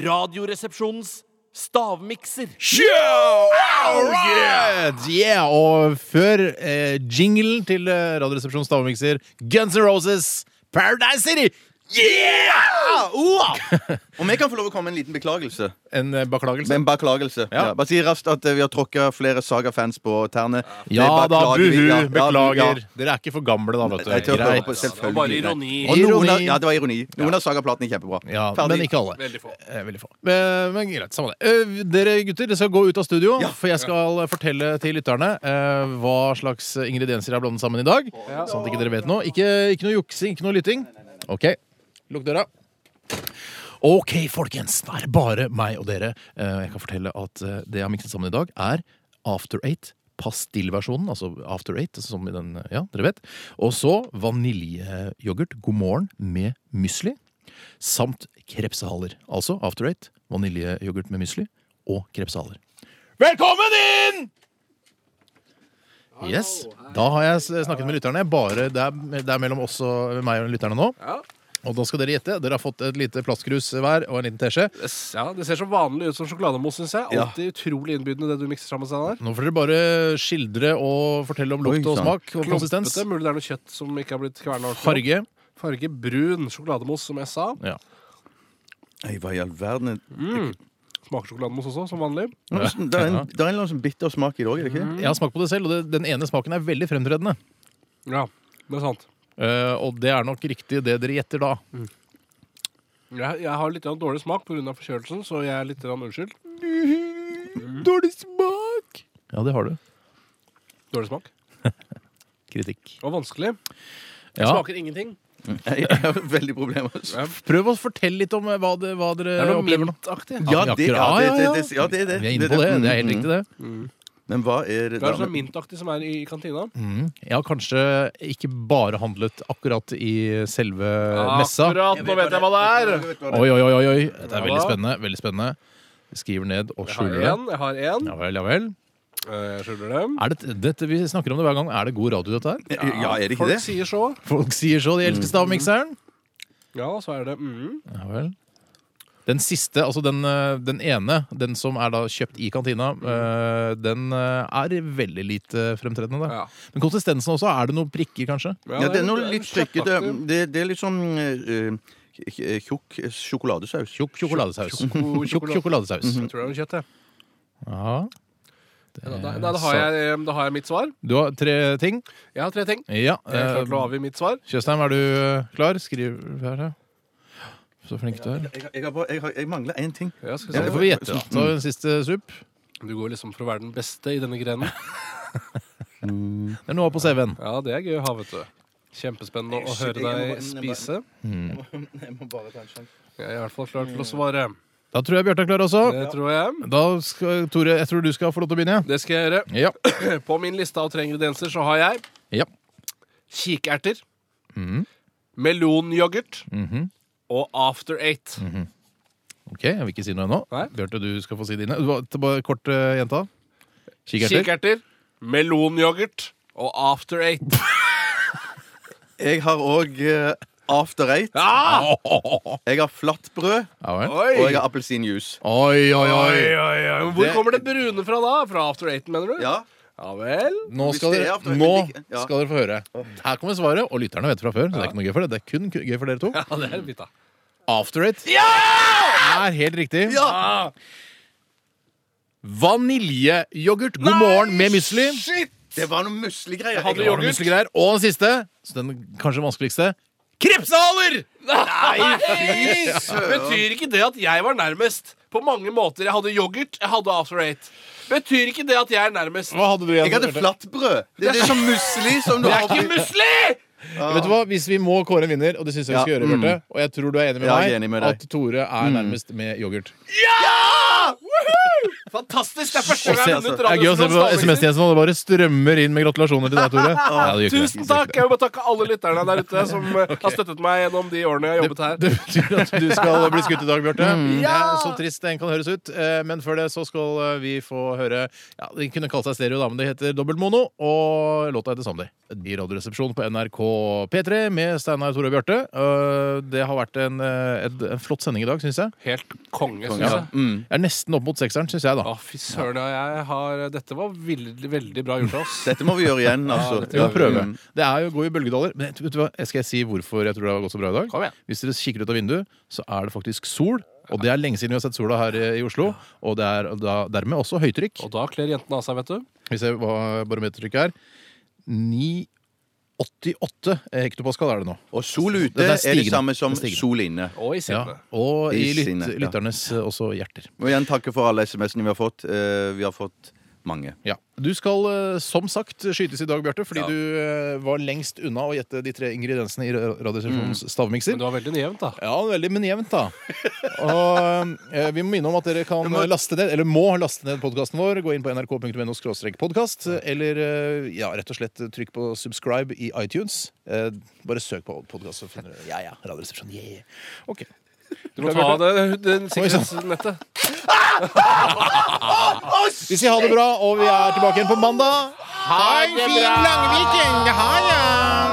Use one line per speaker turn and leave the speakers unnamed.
Radioresepsjonens stavmikser.
Alright! Yeah! Og før eh, jinglen til eh, Radioresepsjonens stavmikser, Guns N' Roses, Paradise City! Yeah! Oa!
Om jeg kan få lov å komme med en liten beklagelse?
En eh, beklagelse.
En beklagelse.
Ja.
Ja. Bare si raskt at eh, vi har tråkka flere Saga-fans på tærne. Det
Ja da,
beklager vi.
buhu.
Ja, ja,
Beklager.
ja.
Dere er ikke for gamle, da, vet du.
Jeg tør å håpe
Greit.
på selvfølgelig.
Bare ironi.
Og noen av,
Ironi.
ja, det var ironi. Noen av sagaplatene er kjempebra.
Ja,
Ferdig.
men ikke alle.
Veldig få.
Eh, veldig få. Eh, Men greit, samme det. Eh, Dere gutter, dere skal gå ut av studio, for jeg skal eh, fortelle til lytterne eh, hva slags ingredienser jeg har blandet sammen i dag. Sånn at ikke dere vet noe. Ikke, ikke noe juksing, ikke noe lytting. OK. Lukk døra. OK, folkens. Det er det bare meg og dere. Eh, Jeg kan fortelle at eh, det jeg har mikset sammen i dag, er After Eight. Pastillversjonen, altså After Eight, altså som i den, eh, ja, dere vet. Og så vaniljeyoghurt, god morgen, med mysli samt krepsehaler. Altså After Eight, vaniljeyoghurt med mysli og krepsehaler. Velkommen inn! Yes. Da har jeg s- snakket med lytterne. Bare, det, er, det er mellom oss og meg og lytterne nå.
Ja.
Og da skal dere gjette. Dere har fått et lite plastkrus hver og en liten teskje.
ja, Det ser så vanlig ut som sjokolademousse, syns jeg.
Ja.
Alltid utrolig innbydende, det du mikser sammen. Steinar.
Nå får dere bare skildre og fortelle om lukt
Oi,
og
sann.
smak og konsistens.
Klumpete. Mulig det er noe kjøtt som ikke har blitt kverna ordentlig.
Farge.
opp. Farge brun sjokolademousse, som jeg sa.
Ja.
Oi, hva i all verden
Smaker sjokolademousse også, som vanlig.
Nå er Det sånn- det er en, det er en eller annen sånn bitter smak i det òg, er det ikke?
Jeg har smakt på det selv, og det, den ene smaken er veldig fremtredende.
Ja, det er sant.
Eh, og det er nok riktig det dere gjetter da.
Jeg, jeg har litt grann dårlig smak pga. forkjølelsen, så jeg er litt grann unnskyld. Mm-hmm.
Mm. Dårlig smak! Ja, det har du.
Dårlig smak.
Kritikk.
Og vanskelig.
Ja.
Smaker ingenting.
Jeg har veldig problemer.
Ja.
Prøv å fortelle litt om eh, hva, det, hva dere
Det er noe
opplever nå.
Eh, mintaktig.
Ja, det, ja, det,
Ja,
det,
ja, ja.
det, ja, det er det.
Vi er inne på det. Det
mm-hmm.
er helt
Mm,
riktig, det.
mm. Men hva er det
Det er
da?
sånn mintaktig som er i kantina.
Mm. Jeg har kanskje ikke bare handlet akkurat i selve
Eh,
messa.
Akkurat, nå vet jeg hva det er.
Oi, oi, oi, oi. oi. Det er
Ja.
veldig spennende. veldig spennende. Jeg Skriver ned
Jeg
og
har
skjuler det.
én. Jeg har én.
Ja vel, ja vel.
Eh, Jeg skjuler dem.
Er det, dette, vi snakker om det hver gang. Er det god radio, dette her?
Ja, er det ikke
Folk
det?
sier så.
Folk sier så, de
Mm.
elsker stavmikseren.
Ja, så er det mm.
Ja vel. Den siste, altså den, eh, den ene, den som er da kjøpt i kantina,
Mm.
eh, den eh, er veldig lite eh, fremtredende. Da.
Ja.
Men konsistensen også, er det noen prikker, kanskje?
Ja, det er noe litt
kjøttaktig.
trykkete. Det, det er litt sånn eh, eh, tjukk sjokoladesaus.
Tjukk sjokoladesaus.
Tjukk
Tjukk
sjokolade.
sjokoladesaus.
Jeg tror det er noe kjøtt, jeg.
Ja. Det
Ja,
er
Da, da, da, har jeg, eh, da har jeg mitt svar.
Du har tre ting?
Jeg har tre ting.
Ja.
Jeg er klar til å
eh,
avgi mitt svar.
Tjøstheim, er du eh, klar? Skriv her, ja. Så flink du er.
Jeg, jeg, har bare- jeg, har- jeg mangler én ting.
Ja, skal vi
Ja,
se.
det får vi gjette, da. Ta en siste supp.
Du går liksom for å være den beste i denne grenen.
Mm.
Det er noe på CV-en.
Ja, det er gøy å ha, vet du. Kjempespennende å
Jeg-
høre
jeg må
deg
bare- jeg må
spise.
Jeg må bare ta en sjanse.
Jeg er i hvert fall klar til å svare.
Da tror jeg Bjarte er klar også.
Det tror jeg.
Da skal Tore, jeg tror du skal få lov til å begynne.
Det skal jeg gjøre.
Ja.
På min liste av tre ingredienser så har jeg
ja.
kikerter, Mm. melonyoghurt
Mhm.
og After Eight.
OK, jeg vil ikke si noe ennå.
Nei.
Bjarte, du skal få si dine. Du var- Bare kort, eh, jenta. Kikerter.
Kikerter, melonyoghurt og After Eight.
Jeg har òg after eight.
Ja!
Jeg har flatbrød,
Ja vel.
Ah! Oi!
og jeg har appelsinjuice.
Oi, oi,
Oi,
oi.
oi, oi. Hvor
Det-
kommer det brune fra da? Fra After Eight, mener du?
Ja.
Ja vel?
Nå
Hvis
skal,
det er
dere,
after-
nå
Ja.
skal dere få høre. Her kommer svaret, og lytterne vet fra før. Så det er ikke noe gøy for det. Det er kun ku- gøy for dere to.
Ja, det er litt, da.
After it er helt riktig.
Ja!
Vaniljeyoghurt. God morgen med mysli.
Shit!
Det var noen muslegreier.
Hadde
Jeg-
du yoghurt?
Muslegreier. Og den siste, så den kanskje vanskeligste, krepsehaler!
Nei, Betyr ikke det at jeg var nærmest? På mange måter. Jeg hadde yoghurt, jeg hadde After Eight. Betyr ikke det at jeg er nærmest?
Hva hadde du igjen?
Jeg hadde flatbrød. Det er det som musli som du
Det
har
er ikke musli!
Vet du hva, Hvis vi må kåre en vinner, og det syns jeg vi skal
Ja,
gjøre, Bjarte, og jeg tror du er enig med
Ja, jeg
meg,
er enig med deg.
at Tore er nærmest med yoghurt.
Ja! Woohoo! Fantastisk! Det er første gang jeg har
altså.
vunnet
Det er gøy å se på
Radioresepsjonens
SMS-tjenesten, og det bare strømmer inn med gratulasjoner til deg, Tore. Ja, det gjør ikke det.
Tusen takk! Jeg vil bare takke alle lytterne der ute som eh, har støttet meg gjennom de årene jeg har jobbet her.
Det betyr at du skal bli skutt i dag, Bjarte.
Ja!
Eh, Så trist den kan høres ut. Eh, Men før det så skal eh, vi få høre ja, Den kunne kalt seg stereo, da, men det heter dobbeltmono. Og låta heter Someday. I Radioresepsjonen på NRK P3 med Steinar, Tore og Bjarte. Eh, Det har vært en, eh, et- en flott sending i dag, syns jeg.
Helt konge, syns
Ja.
jeg.
Mm.
Jeg er nesten opp mot sekseren, syns jeg,
Å,
da.
fy søren. ja, Jeg har, dette var veldig, veldig bra gjort av oss.
Dette må vi gjøre igjen, altså.
dette
Vi må prøve.
Mm.
Det er jo gå i bølgedaler. Men vet du hva? Jeg skal jeg si hvorfor jeg tror det har gått så bra i dag?
Kom igjen.
Hvis dere kikker ut av vinduet, så er det faktisk sol. Og det er lenge siden vi har sett sola her i i Oslo. Og det er da, dermed også høytrykk.
Og da kler jentene av seg, vet du.
Vi ser hva barometertrykket er. 988 hektopascal er det nå.
Og sol ute
Det er
er, det
stigende.
samme som
Det er stigende.
sol inne.
Og i
Ja,
sidene.
og i
I
lyt
sinnet, ja.
lytternes eh, også hjerter.
Må igjen takke for alle SMS-ene vi har fått. Eh, vi har fått mange.
Ja. Du skal eh, som sagt skytes i dag, Bjarte, fordi
Ja.
du eh, var lengst unna å gjette de tre ingrediensene i Ra- Radioresepsjonens stavmikser.
Men det var veldig jevnt, da.
Ja, veldig, men jevnt, da. Og eh, vi må minne om at dere kan laste ned, eller må laste ned podkasten vår. Gå inn på nrk.no podkast, eller eh, ja, rett og slett trykk på subscribe i iTunes. Eh, bare søk på podkast, så finner dere Ja, ja, Radioresepsjonen. Yeah, yeah. Ok.
Du må ta av det, det sikkerhetsnettet.
Vi sier ha det bra, og vi er tilbake igjen på mandag. Ha en fin langviken! Ha det!